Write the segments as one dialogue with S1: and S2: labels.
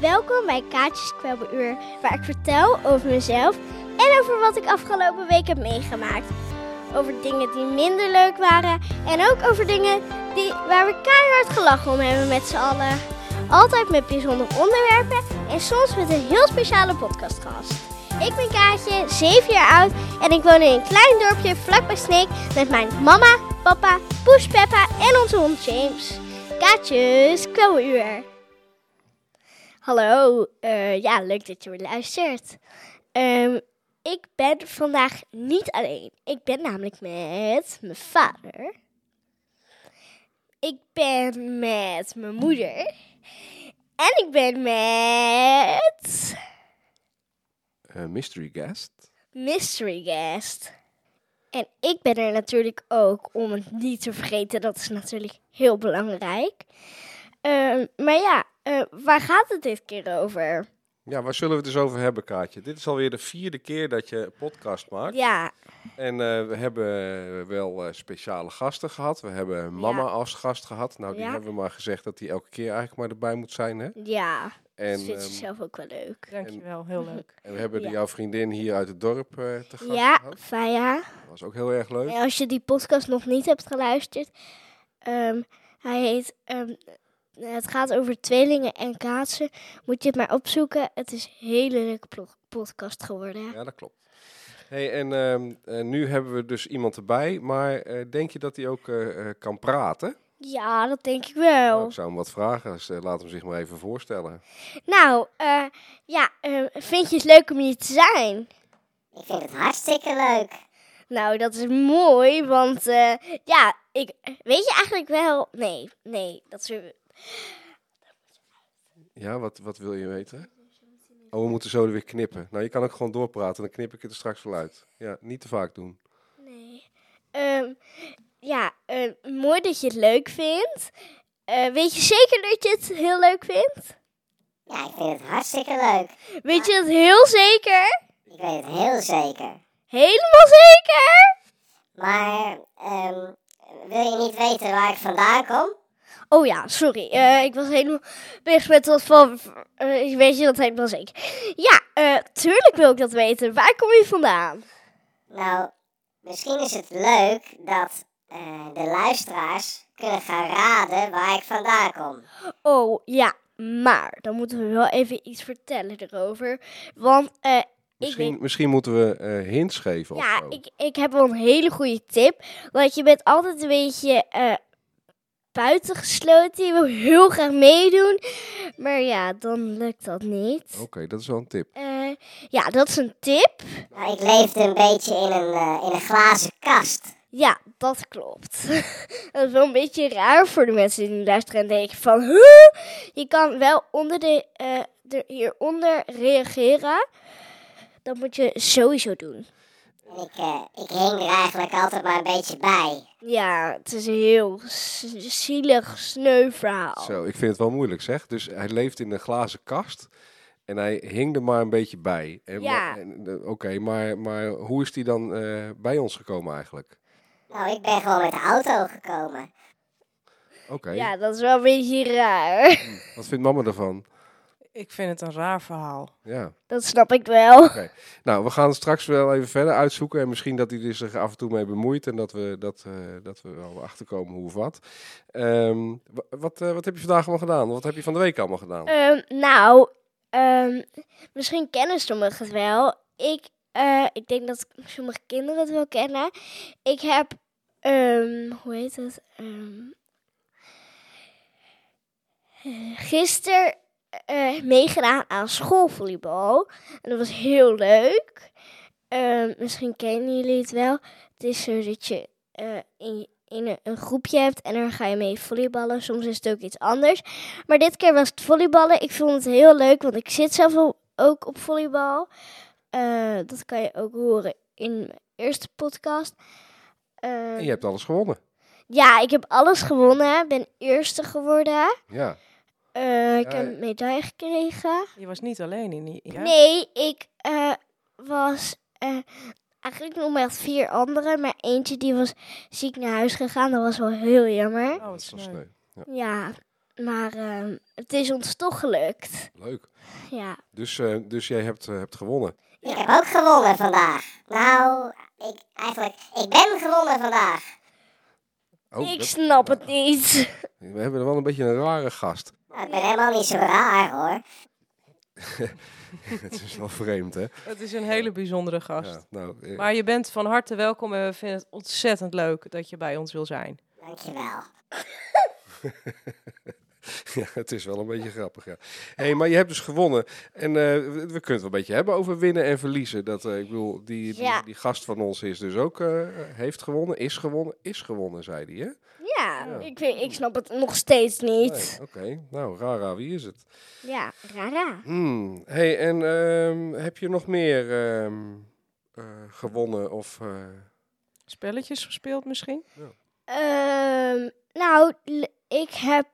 S1: Welkom bij Kaatjes Kwebbeluur, waar ik vertel over mezelf en over wat ik afgelopen week heb meegemaakt. Over dingen die minder leuk waren en ook over dingen die, waar we keihard gelachen om hebben met z'n allen. Altijd met bijzondere onderwerpen en soms met een heel speciale podcastgast. Ik ben Kaatje, 7 jaar oud en ik woon in een klein dorpje vlakbij Sneek met mijn mama, papa, Poes Peppa en onze hond James. Kaatjes Kwebbeluur. Hallo, eh, ja, leuk dat je weer luistert. Ehm, ik ben vandaag niet alleen. Ik ben namelijk met mijn vader. Ik ben met mijn moeder. En ik ben met
S2: Eh, mystery guest.
S1: Mystery Guest. En ik ben er natuurlijk ook, om het niet te vergeten, dat is natuurlijk heel belangrijk. Ehm, maar ja, eh, waar gaat het dit keer over?
S2: Ja, waar zullen we het dus over hebben, Kaatje? Dit is alweer de vierde keer dat je een podcast maakt.
S1: Ja,
S2: En eh, we hebben wel eh, speciale gasten gehad. We hebben mama
S1: Ja.
S2: als gast gehad. Nou, die
S1: Ja.
S2: hebben we maar gezegd dat die elke keer eigenlijk maar erbij moet zijn, hè?
S1: ja.
S2: En,
S1: dat vind ik
S2: ehm,
S1: zelf ook wel leuk.
S3: Dankjewel, heel leuk.
S2: en we hebben de-
S1: Ja.
S2: jouw vriendin hier uit het dorp eh, te gast
S1: Ja,
S2: gehad.
S1: Faya.
S2: Dat was ook heel erg leuk.
S1: En als je die podcast nog niet hebt geluisterd, ehm, hij heet. ehm, het gaat over tweelingen en kaatsen. Moet je het maar opzoeken. Het is een hele leuke pro- podcast geworden.
S2: Ja, dat klopt. Hey, en ehm, eh, nu hebben we dus iemand erbij, maar eh, denk je dat hij ook eh, eh, kan praten?
S1: Ja, dat denk ik
S2: Nou,
S1: wel.
S2: ik zou hem wat vragen, dus eh, laat hem zich maar even voorstellen.
S1: Nou, eh, ja, eh, vind je het leuk om hier te zijn?
S4: Ik vind het hartstikke leuk.
S1: Nou, dat is mooi, want eh, ja, ik weet je eigenlijk wel. Nee, nee, dat is weer-
S2: Ja, wat, wat wil je weten? Oh, we moeten zo er weer knippen. Nou, je kan ook gewoon doorpraten, dan knip ik het er straks wel uit. Ja, niet te vaak doen.
S1: Nee. Ehm, ja, ehm, mooi dat je het leuk vindt. Eh, weet je zeker dat je het heel leuk vindt?
S4: Ja, ik vind het hartstikke leuk.
S1: Weet je dat heel zeker?
S4: Ik weet het heel zeker.
S1: Helemaal zeker?
S4: Maar ehm, wil je niet weten waar ik vandaan kom?
S1: Oh ja, sorry. Eh, ik was helemaal bezig met wat van... eh, weet je dat helemaal zeker? Ja, eh, tuurlijk wil ik dat weten. Waar kom je vandaan?
S4: Nou, misschien is het leuk dat eh, de luisteraars kunnen gaan raden waar ik vandaan kom.
S1: Oh ja, maar dan moeten we wel even iets vertellen erover. Want eh, ik
S2: Misschien,
S1: weet...
S2: misschien moeten we eh, hints geven of
S1: Ja,
S2: zo.
S1: ik, ik heb wel een hele goede tip. Want je bent altijd een beetje eh buitengesloten. Je wil heel graag meedoen. Maar ja, dan lukt dat niet.
S2: Oké, dat is wel een tip.
S1: Eh, ja, dat is een tip.
S4: Nou, ik leefde een beetje in een, eh, in een glazen kast.
S1: Ja, dat klopt. dat is wel een beetje raar voor de mensen die nu luisteren en denken van... Huh? Je kan wel onder de, eh, de, hieronder reageren. Dat moet je sowieso doen.
S4: En ik, eh, ik hing er eigenlijk altijd maar een beetje bij.
S1: Ja, het is een heel s- zielig, sneu verhaal.
S2: Zo, ik vind het wel moeilijk zeg. Dus hij leeft in een glazen kast en hij hing er maar een beetje bij. En
S1: Ja.
S2: maar- en, eh, Oké, maar, maar hoe is hij dan eh, bij ons gekomen eigenlijk?
S4: Nou, ik ben gewoon met de auto gekomen.
S2: Oké,
S1: Ja, dat is wel een beetje raar.
S2: wat vindt mama ervan?
S3: Ik vind het een raar verhaal.
S2: Ja.
S1: Dat snap ik wel.
S2: Nou, we gaan straks wel even verder uitzoeken. En misschien dat hij er zich af en toe mee bemoeit. En dat we, dat, eh, dat we wel achterkomen hoe of wat. Ehm, wa- wat, eh, wat heb je vandaag allemaal gedaan? Wat heb je van de week allemaal gedaan?
S3: Eh,
S1: Ehm, nou, ehm, misschien kennen sommigen het wel. Ik, eh, ik denk dat sommige kinderen het wel kennen. Ik heb, ehm, hoe heet het? Ehm gisteren eh, meegedaan aan schoolvolleybal. En dat was heel leuk. Ehm, misschien kennen jullie het wel. Het is zo dat je eh, in, in een- een groepje hebt en dan ga je mee volleyballen. Soms is het ook iets anders. Maar dit keer was het volleyballen. Ik vond het heel leuk, want ik zit zelf al- ook op volleybal. Eh, dat kan je ook horen in mijn eerste podcast. Eh,
S2: En je hebt alles gewonnen.
S1: ja, ik heb alles gewonnen. Ben eerste geworden.
S2: Ja.
S1: Eh, ik
S2: Ja,
S1: heb een medaille gekregen.
S3: Je was niet alleen in die... Ja?
S1: Nee, ik eh, was eh, eigenlijk nog met vier anderen. Maar eentje die was ziek naar huis gegaan. Dat was wel heel jammer.
S3: Oh, wat
S2: dat is wel
S3: sneu.
S2: sneu.
S1: Ja, maar ehm, het is ons toch gelukt.
S2: Leuk.
S1: Ja.
S2: Dus, eh, dus jij hebt, eh, hebt gewonnen.
S4: Ik heb ook gewonnen vandaag. Nou, ik, eigenlijk, ik ben gewonnen vandaag.
S2: Oh,
S1: ik
S2: dat-
S1: snap het niet.
S2: we hebben wel een beetje een rare gast.
S4: Nou, ik ben helemaal niet zo raar hoor.
S2: het is wel vreemd, hè?
S3: Het is een hele bijzondere gast.
S2: Ja, nou, eh,
S3: Maar je bent van harte welkom en we vinden het ontzettend leuk dat je bij ons wil zijn.
S4: Dankjewel.
S2: ja, het is wel een beetje grappig, ja. hey, maar je hebt dus gewonnen. En eh, we we kunnen het wel een beetje hebben over winnen en verliezen. Dat, eh, ik bedoel, die, die,
S1: Ja.
S2: die gast van ons is dus ook, eh, heeft gewonnen, is gewonnen, is gewonnen, zei hij, hè?
S1: Ja,
S2: Ja.
S1: Ik, weet, ik snap het nog steeds niet.
S2: Nee, Oké, nou, Rara, wie is het?
S1: Ja, rara.
S2: Hmm. hey, en ehm, heb je nog meer ehm, eh, gewonnen of... eh,
S3: Spelletjes gespeeld misschien?
S1: Ehm, nou, l- ik heb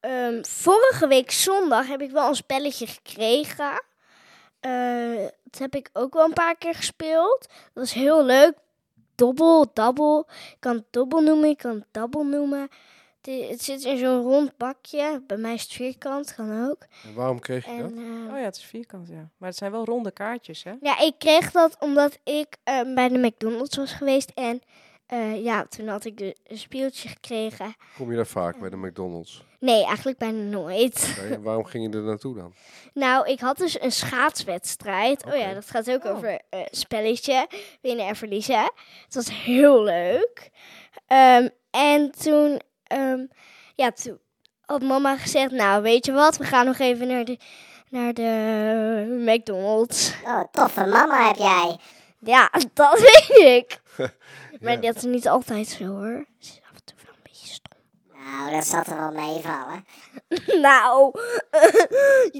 S1: ehm, vorige week zondag heb ik wel een spelletje gekregen. Eh, dat heb ik ook wel een paar keer gespeeld. Dat was heel leuk. Dobbel, dabbel. Ik kan het dobbel noemen, ik kan het dabbel noemen. Het, i- het zit in zo'n rond bakje. Bij mij is het vierkant, kan ook.
S2: en waarom kreeg je dat?
S1: En, ehm,
S3: Oh ja, het is vierkant, ja. Maar het zijn wel ronde kaartjes, hè?
S1: Ja, ik kreeg dat omdat ik eh, bij de McDonald's was geweest. En eh, ja, toen had ik dus een speeltje gekregen.
S2: Kom je daar vaak bij de McDonald's?
S1: Nee, eigenlijk bijna nooit.
S2: Oké, en waarom ging je er naartoe dan?
S1: Nou, ik had dus een schaatswedstrijd. Oh ja,
S2: Oké.
S1: dat gaat ook
S3: Oh.
S1: over eh, spelletje, winnen en verliezen. Het was heel leuk. Ehm, en toen, ehm, ja, toen had mama gezegd, nou weet je wat, we gaan nog even naar de, naar de McDonald's.
S4: Oh, een toffe mama heb jij.
S1: Ja, dat weet ik.
S2: Ja.
S1: Maar dat is niet altijd zo hoor. Ze is af en toe wel een beetje stom.
S4: Nou, dat zat er wel meevallen.
S1: Nou,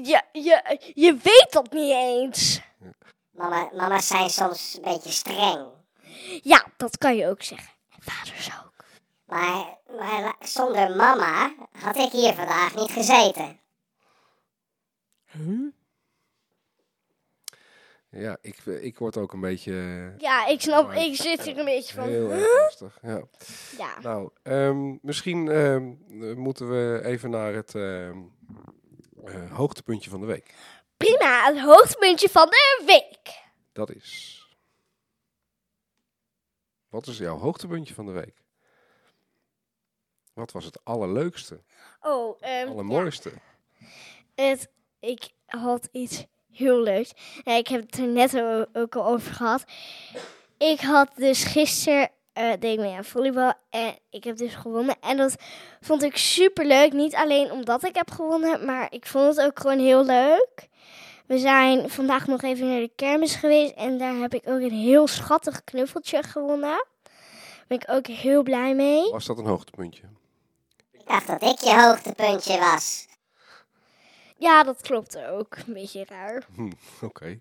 S1: je, je, je weet dat niet eens.
S4: Mama, mama's zijn soms een beetje streng.
S1: Ja, dat kan je ook zeggen. En vaders ook.
S4: Maar, maar la- zonder mama had ik hier vandaag niet gezeten.
S2: Ja, ik, ik word ook een beetje...
S1: Ja, ik snap,
S2: Maar-
S1: ik zit hier een beetje
S2: Heel
S1: van.
S2: erg lastig, ja.
S1: Ja.
S2: Nou, ehm, misschien ehm, eh, moeten we even naar het ehm, eh, hoogtepuntje van de week.
S1: Prima, het hoogtepuntje van de week.
S2: Dat is... Wat is jouw hoogtepuntje van de week? Wat was het allerleukste,
S1: Oh, ehm,
S2: allermooiste?
S1: Het, ik had iets heel leuks. Ja, ik heb het er net o- ook al over gehad. Ik had dus gisteren, eh deed ik mee aan volleybal en ik heb dus gewonnen. En dat vond ik super leuk. Niet alleen omdat ik heb gewonnen, maar ik vond het ook gewoon heel leuk. We zijn vandaag nog even naar de kermis geweest en daar heb ik ook een heel schattig knuffeltje gewonnen. Daar ben ik ook heel blij mee.
S2: Was dat een hoogtepuntje?
S4: Ik dacht dat ik je hoogtepuntje was.
S1: Ja, dat klopt ook. Een beetje raar.
S2: Hm, Oké.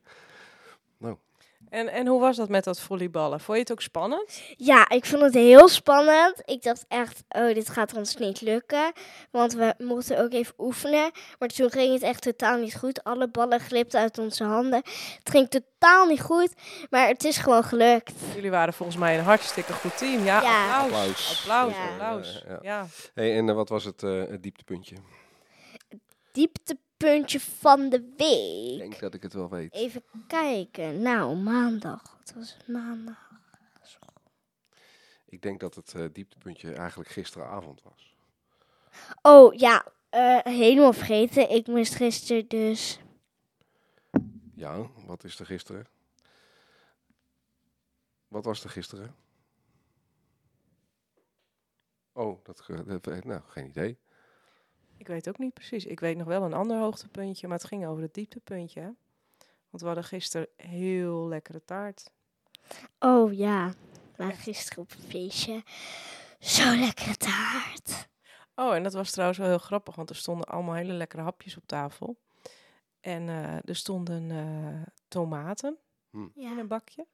S3: En, en hoe was dat met dat volleyballen? Vond je het ook spannend?
S1: Ja, ik vond het heel spannend. Ik dacht echt, oh, dit gaat ons niet lukken. Want we mochten ook even oefenen. Maar toen ging het echt totaal niet goed. Alle ballen glipten uit onze handen. Het ging totaal niet goed, maar het is gewoon gelukt.
S3: Jullie waren volgens mij een hartstikke goed team. Ja,
S1: Ja.
S3: applaus.
S2: Applaus.
S3: Applaus,
S1: Ja.
S3: applaus.
S2: Ja, ja.
S3: Ja.
S2: Hey, en eh, wat was het, eh, het dieptepuntje?
S1: Dieptepuntje van de
S2: Ik
S1: week.
S2: denk dat ik het wel weet.
S1: Even kijken. Nou, maandag. Wat was het maandag?
S2: Ik denk dat het eh, dieptepuntje eigenlijk gisteravond was.
S1: Oh ja, eh, helemaal vergeten. Ik moest gisteren dus.
S2: Ja, wat is er gisteren? Wat was er gisteren? Oh, dat, ge- dat eh, nou, geen idee.
S3: Ik weet ook niet precies. Ik weet nog wel een ander hoogtepuntje, maar het ging over het dieptepuntje. hè? Want we hadden gisteren heel lekkere taart.
S1: Oh ja, we waren gisteren op een feestje. Zo lekkere taart.
S3: Oh, en dat was trouwens wel heel grappig, want er stonden allemaal hele lekkere hapjes op tafel. En eh, er stonden eh, tomaten in
S1: Ja.
S3: een bakje.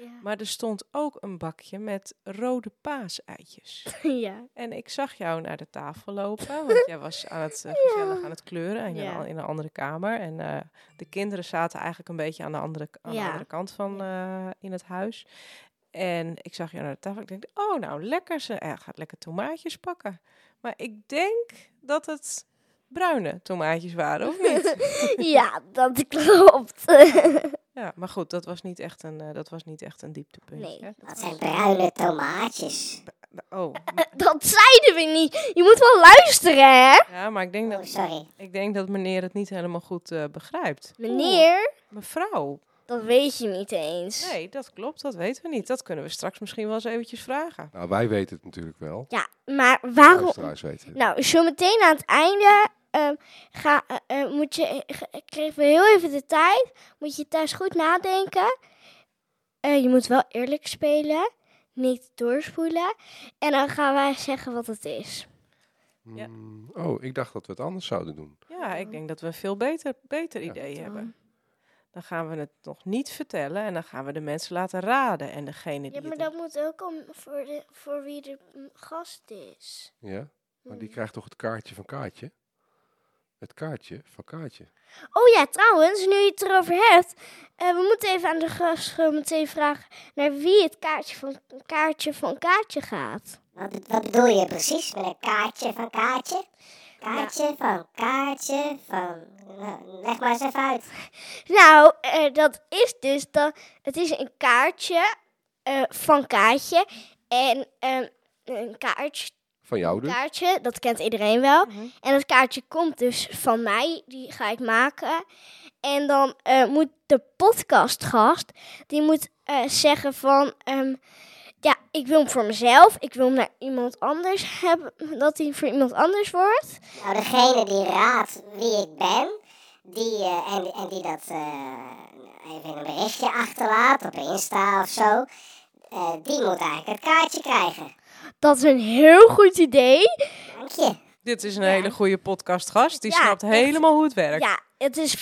S1: Ja.
S3: Maar er stond ook een bakje met rode paaseitjes.
S1: ja.
S3: En ik zag jou naar de tafel lopen, want jij was aan het, eh, gezellig aan het kleuren en
S1: Ja.
S3: in een andere kamer. En eh, de kinderen zaten eigenlijk een beetje aan de andere, k- aan de
S1: Ja.
S3: andere kant van eh, in het huis. En ik zag jou naar de tafel. Ik denk, oh nou, lekker. Ze eh, gaat lekker tomaatjes pakken. Maar ik denk dat het bruine tomaatjes waren, of niet?
S1: ja, dat klopt.
S3: ja, maar goed, dat was niet echt een, eh, dat was niet echt een Oh. dieptepunt.
S1: Nee.
S3: hè?
S4: Dat zijn bruine tomaatjes.
S3: Oh,
S1: dat zeiden we niet. Je moet wel luisteren, hè?
S3: ja, maar ik denk
S4: Oh,
S3: dat,
S4: sorry.
S3: ik denk dat meneer het niet helemaal goed eh, begrijpt.
S1: Meneer,
S3: Mevrouw,
S1: dat weet je niet eens.
S3: nee, dat klopt, dat weten we niet. Dat kunnen we straks misschien wel eens eventjes vragen.
S2: Nou, wij weten het natuurlijk wel.
S1: Ja, maar
S3: Ah,
S1: waarom?
S2: Luisteraars weten het.
S1: Nou, zometeen aan het einde ehm, ga, eh, eh, moet je, eh, ge- krijgen we heel even de tijd. Moet je thuis goed nadenken. Eh, je moet wel eerlijk spelen. Niet doorspoelen. En dan gaan wij zeggen wat het is.
S3: ja.
S2: Mm, Oh, ik dacht dat we het anders zouden doen.
S3: Ja, ik denk dat we een veel beter, beter
S2: Ja.
S3: idee
S1: Dan.
S3: hebben. Dan gaan we het nog niet vertellen en dan gaan we de mensen laten raden. En degene die
S1: Ja,
S3: het
S1: maar dat moet ook om voor, de, voor wie de mm, gast is.
S2: Ja? Maar
S3: Mm.
S2: die krijgt toch het kaartje van Kaartje? Het kaartje van Kaartje.
S1: Oh ja, trouwens, nu je het erover hebt. eh, we moeten even aan de gast eh, meteen vragen naar wie het kaartje van kaartje, van kaartje gaat.
S4: Wat, wat bedoel je precies met een kaartje van kaartje? Kaartje van kaartje van... Nou, leg maar eens even uit.
S1: Nou, eh, dat is dus dat het is een kaartje eh, van kaartje. En ehm, een kaartje,
S2: Van jou dus?
S1: kaartje, dat kent iedereen wel.
S3: Mhm.
S1: En dat kaartje komt dus van mij, die ga ik maken. En dan eh, moet de podcastgast, die moet eh, zeggen van... ehm, ja, ik wil hem voor mezelf, ik wil hem naar iemand anders hebben, dat hij voor iemand anders wordt.
S4: Nou, degene die raadt wie ik ben, die, eh, en, en die dat eh, even in een berichtje achterlaat op Insta of zo, eh, die moet eigenlijk het kaartje krijgen.
S1: Dat is een heel goed idee.
S4: Dank je.
S3: Dit is een hele goede podcastgast. Die
S1: Ja,
S3: snapt
S1: echt.
S3: helemaal hoe het werkt.
S1: Ja, het is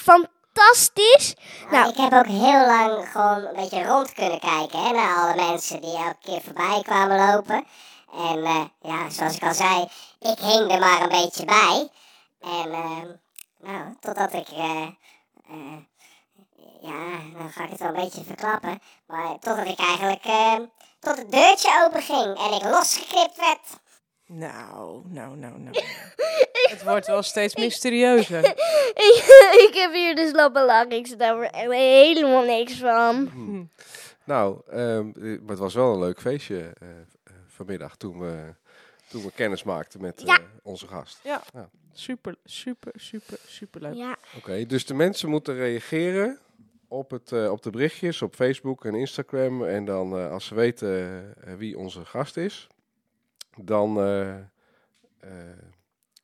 S1: fantastisch.
S4: Nou,
S1: Nou.
S4: ik heb ook heel lang gewoon een beetje rond kunnen kijken hè, naar alle mensen die elke keer voorbij kwamen lopen. En eh, ja, zoals ik al zei, ik hing er maar een beetje bij. En ehm, nou, totdat ik, eh, eh, ja, dan ga ik het wel een beetje verklappen. Maar totdat ik eigenlijk, eh, tot het deurtje open ging en ik losgeknipt werd.
S3: Nou, nou, nou, nou. het wordt wel steeds mysterieuzer.
S1: Ik, ik heb hier dus Lappalakix, daar word ik echt helemaal niks van.
S2: Nou, ehm, eh, maar het was wel een leuk feestje eh, eh, vanmiddag toen we, toen we kennis maakten met
S1: Ja.
S2: eh, onze gast.
S3: Super, super, super, super leuk.
S1: Ja,
S2: Oké, dus de mensen moeten reageren op, het, eh, op de berichtjes op Facebook en Instagram. En dan eh, als ze weten eh, wie onze gast is, dan, eh, eh,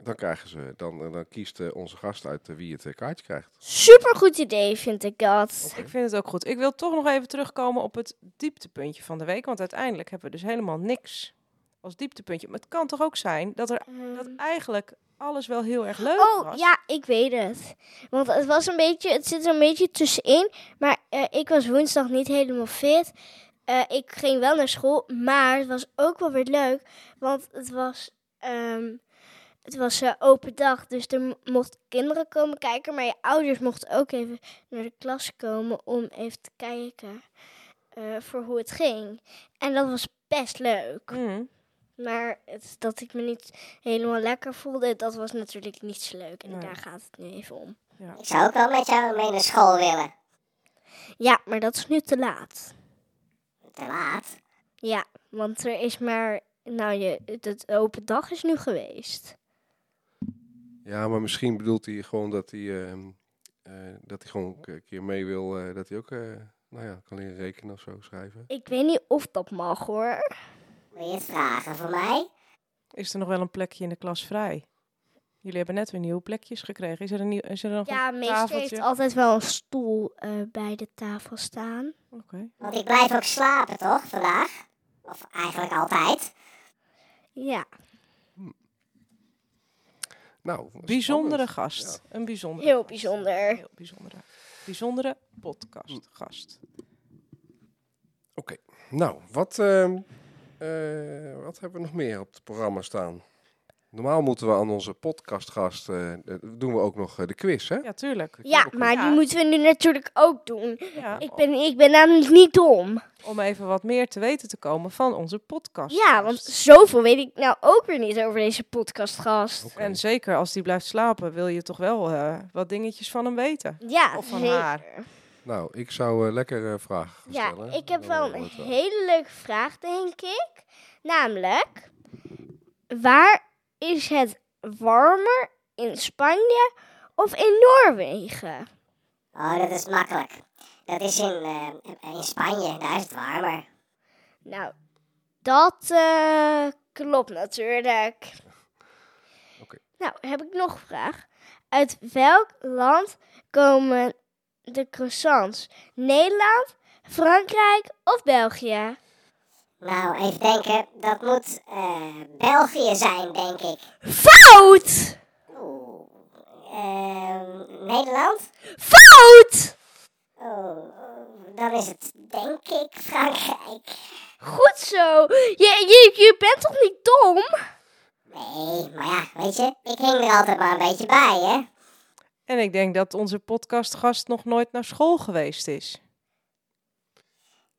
S2: dan krijgen ze, dan, dan kiest eh, onze gast uit eh, wie het eh, kaartje krijgt.
S1: supergoed idee vind ik dat.
S3: Ik vind het ook goed. Ik wil toch nog even terugkomen op het dieptepuntje van de week. Want uiteindelijk hebben we dus helemaal niks als dieptepuntje. Maar het kan toch ook zijn dat, er, dat
S1: Ehm,
S3: eigenlijk alles wel heel erg leuk
S1: Mm. Oh,
S3: was.
S1: ja, ik weet het. Want het was een beetje, het zit er een beetje tussenin. Maar eh, ik was woensdag niet helemaal fit. Eh, ik ging wel naar school, maar het was ook wel weer leuk. Want het was, ehm, het was eh, open dag, dus er mo- mochten kinderen komen kijken. Maar je ouders mochten ook even naar de klas komen om even te kijken eh, voor hoe het ging. En dat was best leuk.
S3: Mm.
S1: Maar het, dat ik me niet helemaal lekker voelde, dat was natuurlijk niet zo leuk. En
S3: Nee.
S1: daar gaat het nu even om.
S4: Ik zou ook wel met jou mee naar school willen.
S1: Ja, maar dat is nu te laat.
S4: Te laat.
S1: Ja, want er is maar. Nou, je, het- het open dag is nu geweest.
S2: Ja, maar misschien bedoelt hij gewoon dat hij, ehm, eh, dat hij gewoon een keer mee wil, eh, dat hij ook... eh, nou ja, kan leren rekenen of zo schrijven.
S1: Ik weet niet of dat mag hoor.
S4: Wil je het vragen voor mij?
S3: Is er nog wel een plekje in de klas vrij? Jullie hebben net weer nieuwe plekjes gekregen. Is er, een nieuw, is er nog
S1: Ja,
S3: een
S1: meester
S3: tafeltje?
S1: heeft altijd wel een stoel eh, bij de tafel staan.
S3: Oké.
S4: Want ik blijf ook slapen, toch, vandaag? Of eigenlijk altijd.
S1: Ja,
S2: Nou, wat
S3: Bijzondere
S2: spannend.
S3: gast. Een bijzondere
S1: heel
S3: gast.
S1: bijzonder.
S3: Heel bijzondere. Bijzondere podcastgast.
S2: Oké, nou, wat, ehm, eh, wat hebben we nog meer op het programma staan? Normaal moeten we aan onze podcastgast, eh, eh, doen we ook nog eh, de quiz, hè?
S3: Ja, tuurlijk.
S1: Ja, maar die moeten we nu natuurlijk ook doen.
S3: Ja,
S1: Ik ben, ik ben namelijk niet dom.
S3: om even wat meer te weten te komen van onze podcast.
S1: Ja, want zoveel weet ik nou ook weer niet over deze podcastgast.
S2: Oké.
S3: En zeker als die blijft slapen, wil je toch wel eh, wat dingetjes van hem weten.
S1: Ja,
S3: Of van
S1: zeker.
S3: haar.
S2: Nou, ik zou eh, lekker eh, vragen
S1: Ja,
S2: stellen.
S1: ik heb
S2: Dan
S1: wel
S2: horen
S1: een
S2: we het
S1: hele leuke vraag, denk ik. Namelijk, waar is het warmer in Spanje of in Noorwegen?
S4: Oh, dat is makkelijk. Dat is in, eh, in Spanje, daar is het warmer.
S1: Nou, dat eh, klopt natuurlijk.
S2: Oké.
S1: Nou, heb ik nog een vraag. Uit welk land komen de croissants? Nederland, Frankrijk of België?
S4: Nou, even denken. Dat moet eh, België zijn, denk ik.
S1: Fout!
S4: Oeh. Ehm, Nederland?
S1: Fout!
S4: Oh, dan is het denk ik Frankrijk.
S1: Goed zo. Je, je, je bent toch niet dom?
S4: Nee, maar ja, weet je, ik hing er altijd maar een beetje bij, hè?
S3: En ik denk dat onze podcastgast nog nooit naar school geweest is.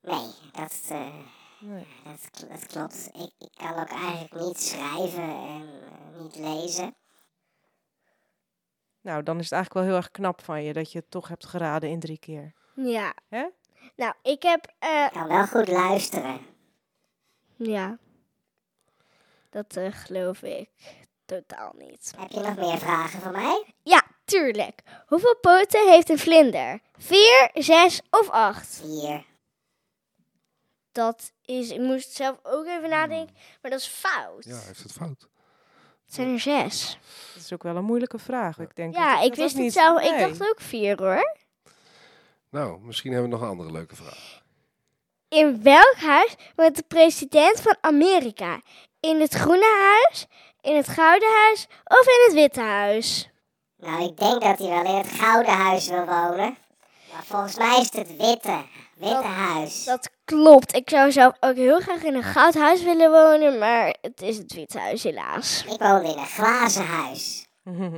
S4: Nee, dat, eh,
S3: Nee.
S4: dat, kl- dat klopt. Ik, ik kan ook eigenlijk niet schrijven en eh, niet lezen.
S3: Nou, dan is het eigenlijk wel heel erg knap van je dat je het toch hebt geraden in drie keer.
S1: Ja.
S3: Hè?
S1: Nou, ik heb... eh,
S4: Ik kan wel goed luisteren.
S1: ja. Dat eh, geloof ik totaal niet.
S4: Heb je nog meer vragen voor mij?
S1: Ja, tuurlijk. Hoeveel poten heeft een vlinder? Vier, zes of acht?
S4: Vier.
S1: Dat is, ik moest zelf ook even nadenken, maar dat is fout.
S2: wel. Ja, heeft het fout?
S1: Het zijn er zes.
S3: Dat is ook wel een moeilijke vraag. Ik denk dat
S1: Ja,
S3: dat
S1: ik
S3: ook
S1: wist
S3: niet-
S1: het zelf. Ik
S3: Nee.
S1: dacht ook vier hoor.
S2: Nou, misschien hebben we nog een andere leuke vraag.
S1: In welk huis woont de president van Amerika? In het groene huis, in het gouden huis of in het witte huis?
S4: Nou, ik denk dat hij wel in het Gouden Huis wil wonen. Maar volgens mij is het het Witte, witte
S1: Dat-
S4: Huis.
S1: Dat klopt. Ik zou zelf ook heel graag in een goud huis willen wonen, maar het is het witte huis helaas.
S4: Ik woonde in een glazen huis.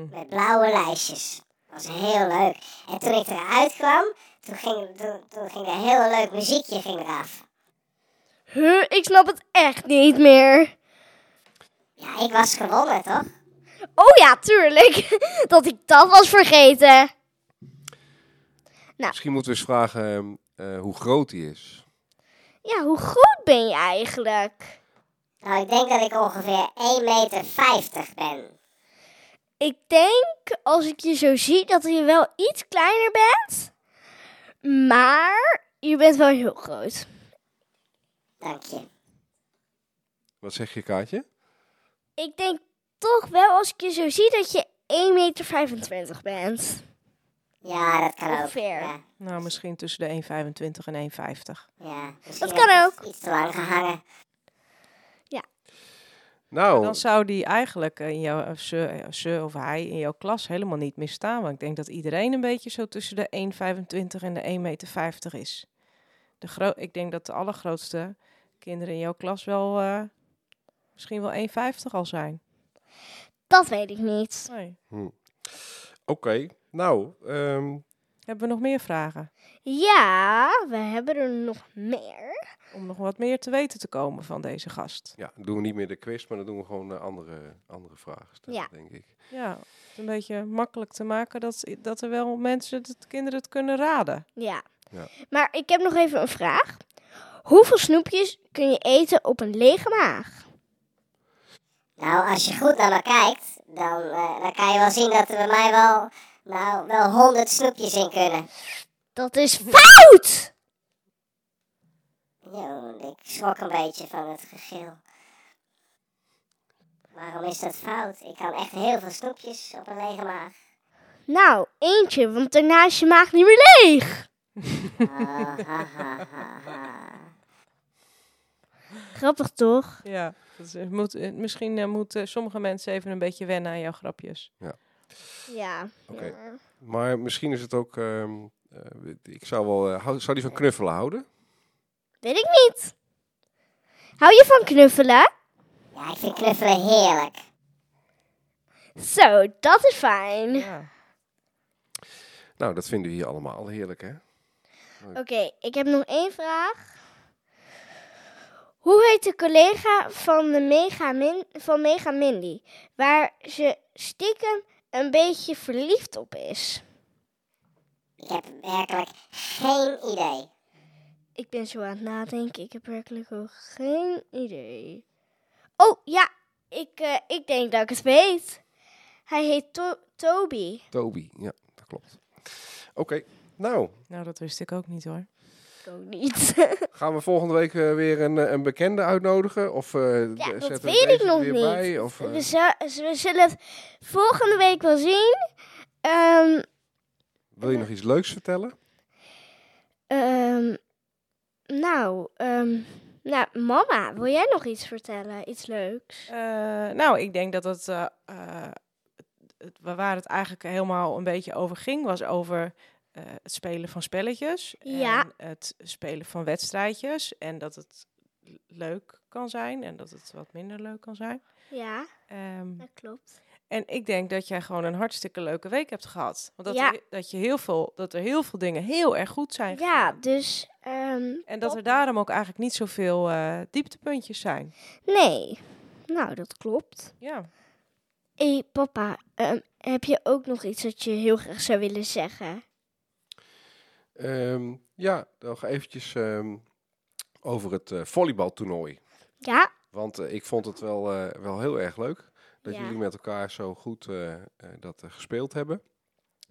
S4: Met blauwe lijstjes. Dat was heel leuk. En toen ik eruit kwam, toen ging, toen, toen ging er een heel leuk muziekje ging eraf.
S1: Huh, ik snap het echt niet meer.
S4: Ja, ik was gewonnen, toch?
S1: Oh ja, tuurlijk. Dat ik dat was vergeten.
S2: Misschien moeten we eens vragen eh, eh, hoe groot die is.
S1: Ja, hoe groot ben je eigenlijk?
S4: Nou, ik denk dat ik ongeveer 1,50 meter ben.
S1: Ik denk, als ik je zo zie, dat je wel iets kleiner bent. Maar je bent wel heel groot.
S4: Dank je.
S2: Wat zeg je, Kaatje?
S1: Ik denk toch wel, als ik je zo zie, dat je 1,25 meter bent.
S4: Ja, dat kan ook.
S1: Ongeveer.
S4: Ja,
S3: Nou, misschien tussen de 1,25 en 1,50.
S4: ja. Misschien
S1: kan
S4: heb ik
S1: ook.
S4: Iets te lang gehangen.
S2: Nou,
S3: Dan zou die eigenlijk eh, in jouw, of ze, eh, ze of hij in jouw klas helemaal niet meer staan. Want ik denk dat iedereen een beetje zo tussen de 1,25 en de 1,50 meter is. De gro- ik denk dat de allergrootste kinderen in jouw klas wel eh, misschien wel 1,50 al zijn.
S1: Dat weet ik niet.
S3: Nee.
S2: oké. Nou, ehm,
S3: Hebben we nog meer vragen?
S1: Ja, we hebben er nog meer.
S3: Om nog wat meer te weten te komen van deze gast.
S2: ja, dan doen we niet meer de quiz, maar dan doen we gewoon eh, andere, andere vragen stellen,
S1: Ja.
S2: denk ik.
S3: Ja, om het een beetje makkelijk te maken dat, dat er wel mensen, dat kinderen het kunnen raden.
S1: Ja.
S2: Ja.
S1: Maar ik heb nog even een vraag. Hoeveel snoepjes kun je eten op een lege maag?
S4: Nou, als je goed naar me kijkt, dan, eh, dan kan je wel zien dat er bij mij wel, nou, wel 100 snoepjes in kunnen.
S1: Dat is fout!
S4: Yo, ik schrok een beetje van het gegil. Waarom is dat fout? Ik kan echt heel veel snoepjes op een lege maag.
S1: Nou, eentje, want daarna is je maag niet meer leeg.
S4: Ah, ha, ha, ha, ha.
S1: Grappig toch?
S3: Ja, dat is, het moet, het- misschien eh, moeten sommige mensen even een beetje wennen aan jouw grapjes.
S1: Ja.
S2: Oké.
S1: Ja.
S2: Maar misschien is het ook... ehm, eh, ik zou wel... eh, hou- zou die van knuffelen houden?
S1: Weet ik niet. Hou je van knuffelen?
S4: Ja, ik vind knuffelen heerlijk.
S1: Zo, dat is fijn.
S3: Ja.
S2: Nou, dat vinden we hier allemaal heerlijk, hè?
S1: Oké, ik heb nog één vraag. Hoe heet de collega van, de Mega, Min- van Mega Mindy, waar ze stiekem een beetje verliefd op is?
S4: Ik heb werkelijk geen idee.
S1: Ik ben zo aan het nadenken, ik heb werkelijk ook geen idee. Oh ja, ik, eh, ik denk dat ik het weet. Hij heet To- Toby.
S2: Toby, ja, dat klopt. Oké, nou,
S3: Nou, dat wist ik ook niet hoor.
S1: Ik ook niet.
S2: gaan we volgende week eh, weer een, eh, een bekende uitnodigen? Of eh, d-
S1: dat
S2: zetten we
S1: weet ik
S2: deze er
S1: nog
S2: weer
S1: niet. Dus-
S2: bij? Of, eh,
S1: we, zu- we zullen het volgende week wel zien. Ehm
S2: wil je nog iets leuks vertellen?
S1: Ehm, nou, ehm, nou, mama, wil jij nog iets vertellen? Iets leuks?
S3: Eh, nou, ik denk dat het, eh, eh, het- waar het eigenlijk helemaal een beetje over ging, was over eh, het spelen van spelletjes.
S1: Ja.
S3: En het spelen van wedstrijdjes. En dat het leuk kan zijn en dat het wat minder leuk kan zijn.
S1: Ja,
S3: Ehm,
S1: dat klopt.
S3: en ik denk dat jij gewoon een hartstikke leuke week hebt gehad. Want dat,
S1: Ja.
S3: er, dat, je heel veel, dat er heel veel dingen heel erg goed zijn
S1: Ja,
S3: gegaan.
S1: dus, ehm,
S3: En dat er
S1: top.
S3: daarom ook eigenlijk niet zoveel eh, dieptepuntjes zijn.
S1: nee. Nou, dat klopt.
S3: Ja.
S1: Hé, hey, papa, ehm, heb je ook nog iets dat je heel graag zou willen zeggen?
S2: Ehm, ja, nog eventjes ehm, over het eh, volleybaltoernooi.
S1: Ja?
S2: Want eh, ik vond het wel, eh, wel heel erg leuk dat
S1: Ja.
S2: jullie met elkaar zo goed eh, eh, dat eh, gespeeld hebben.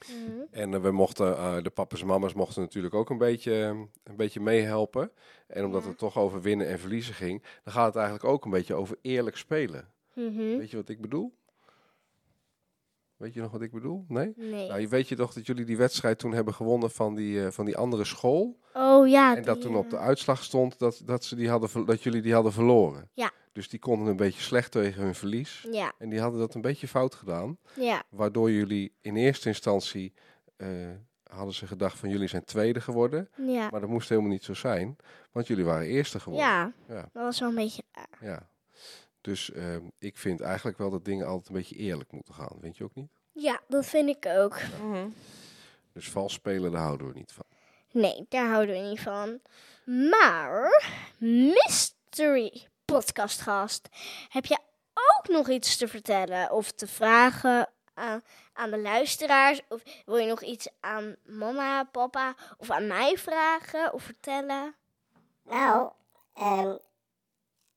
S1: Mhm.
S2: En eh, we mochten, eh, de papa's en mama's mochten natuurlijk ook een beetje, eh, een beetje meehelpen. En omdat
S1: Ja.
S2: het toch over winnen en verliezen ging, dan gaat het eigenlijk ook een beetje over eerlijk spelen.
S1: Mhm.
S2: Weet je wat ik bedoel? Weet je nog wat ik bedoel? Nee?
S1: Nee.
S2: Nou, je weet je toch dat jullie die wedstrijd toen hebben gewonnen van die, eh, van die andere school?
S1: Oh ja.
S2: en dat
S1: die,
S2: toen op de
S1: eh,
S2: uitslag stond dat, dat, ze die hadden, ver- dat jullie die hadden verloren.
S1: Ja.
S2: Dus die konden een beetje slecht tegen hun verlies.
S1: Ja,
S2: En die hadden dat een beetje fout gedaan.
S1: ja,
S2: Waardoor jullie in eerste instantie eh, hadden ze gedacht van jullie zijn tweede geworden.
S1: ja.
S2: Maar dat moest helemaal niet zo zijn. Want jullie waren eerste geworden.
S1: Ja,
S2: Ja.
S1: dat was wel een beetje raar.
S2: Ja. Dus eh, ik vind eigenlijk wel dat dingen altijd een beetje eerlijk moeten gaan. Vind je ook niet?
S1: Ja, dat vind ik ook.
S3: Mhm.
S2: Dus vals spelen, daar houden we niet van.
S1: Nee, daar houden we niet van. Maar, mystery podcastgast, heb je ook nog iets te vertellen of te vragen aan, aan de luisteraars? Of wil je nog iets aan mama, papa of aan mij vragen of vertellen?
S4: Nou, ehm,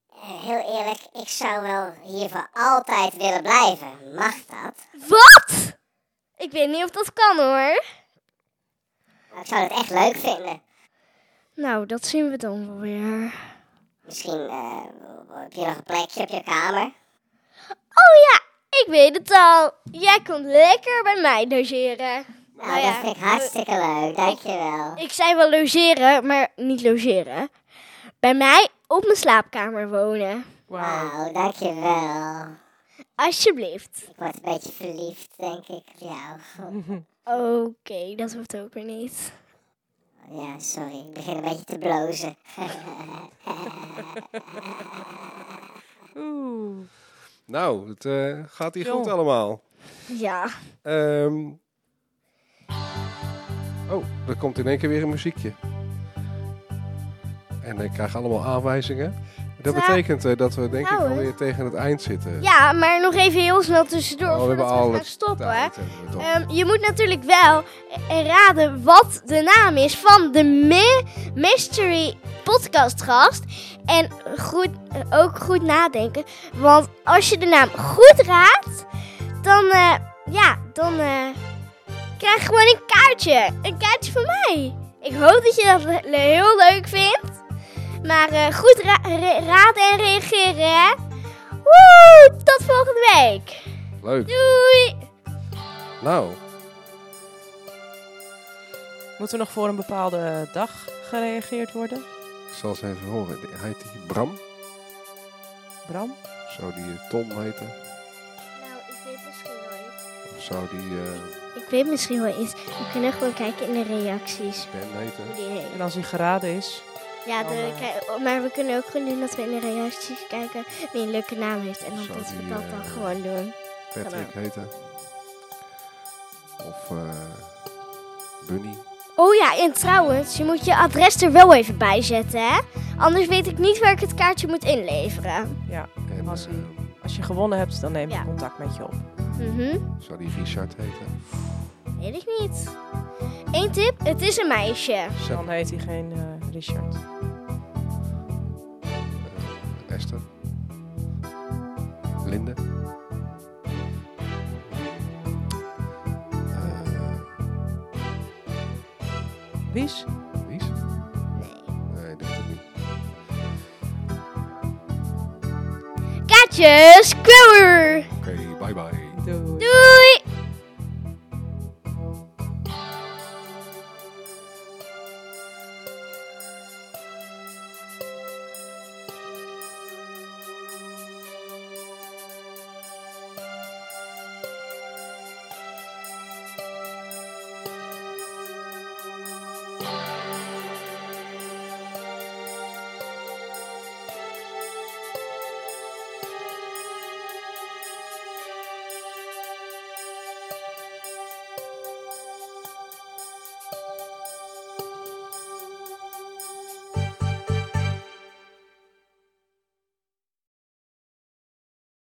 S4: eh, heel eerlijk, ik zou wel hier voor altijd willen blijven. Mag dat?
S1: Wat? Ik weet niet of dat kan hoor.
S4: Nou, ik zou het echt leuk vinden.
S1: Nou, dat zien we dan wel weer.
S4: Misschien eh, heb je nog een plekje op je kamer.
S1: Oh ja, ik weet het al. Jij komt lekker bij mij logeren.
S4: Nou,
S1: Nou ja,
S4: dat vind ik hartstikke leuk. Dankjewel.
S1: Ik zei wel logeren, maar niet logeren. Bij mij op mijn slaapkamer wonen.
S3: Wauw.
S4: Wauw, Nou, dankjewel.
S1: Alsjeblieft.
S4: Ik word een beetje verliefd, denk ik, op jou.
S1: Oké, dat hoeft ook weer niet.
S4: Ja, sorry. Ik begin een beetje te blozen.
S3: Oeh.
S2: Nou, het eh, gaat hier goed
S3: Zo.
S2: allemaal.
S1: Ja.
S2: Ehm. Oh, er komt in één keer weer een muziekje. En ik krijg allemaal aanwijzingen. Dat
S1: Nou,
S2: betekent eh, dat we denk ik
S1: nou, hè.
S2: alweer tegen het eind zitten.
S1: Ja, maar nog even heel snel tussendoor
S2: Oh, we hebben
S1: voordat we
S2: al
S1: gaan
S2: het
S1: stoppen.
S2: tijd hebben we toch.
S1: Ehm, je moet natuurlijk wel eh, raden wat de naam is van de mi- mystery podcastgast. En goed, eh, ook goed nadenken. Want als je de naam goed raadt, dan, eh, ja, dan eh, krijg je gewoon een kaartje. Een kaartje van mij. Ik hoop dat je dat le- heel leuk vindt. Maar eh, goed ra- ra- raden en reageren, hè. Woe, tot volgende week.
S2: Leuk.
S1: Doei.
S2: Nou,
S3: Moeten we nog voor een bepaalde dag gereageerd worden?
S2: ik zal eens even horen. Heet die Bram?
S3: Bram?
S2: Zou die eh, Tom heten?
S1: Nou, ik weet misschien wel iets.
S2: Of zou die eh,
S1: Ik weet misschien wel iets. We kunnen gewoon kijken in de reacties.
S2: Ben heten?
S1: Hoe die heet.
S3: En als hij geraden is?
S1: Ja, de,
S3: Oh, maar-
S1: kijk, oh, maar we kunnen ook gewoon doen dat we in de reacties kijken wie een leuke naam heeft. En dan
S2: Zo,
S1: dat we
S2: die,
S1: dat
S2: eh,
S1: dan gewoon doen.
S2: Patrick
S1: gedaan.
S2: heette. Of eh, Bunny.
S1: Oh ja, en trouwens, je moet je adres er wel even bij zetten, hè? Anders weet ik niet waar ik het kaartje moet inleveren.
S3: Ja,
S2: En
S3: Was-ie.
S2: eh,
S3: als je gewonnen hebt, dan neem ik
S1: Ja.
S3: contact met je op.
S1: Mhm,
S2: zou die Richard heten?
S1: weet ik niet. Eén tip, het is een meisje.
S2: Sep,
S3: Dan heet hij geen eh, Richard.
S2: eh, Esther. Linde. Eh,
S3: Wies?
S2: Lies?
S1: Nee.
S2: Nee, ik denk het niet.
S1: Kaartjes, kweur!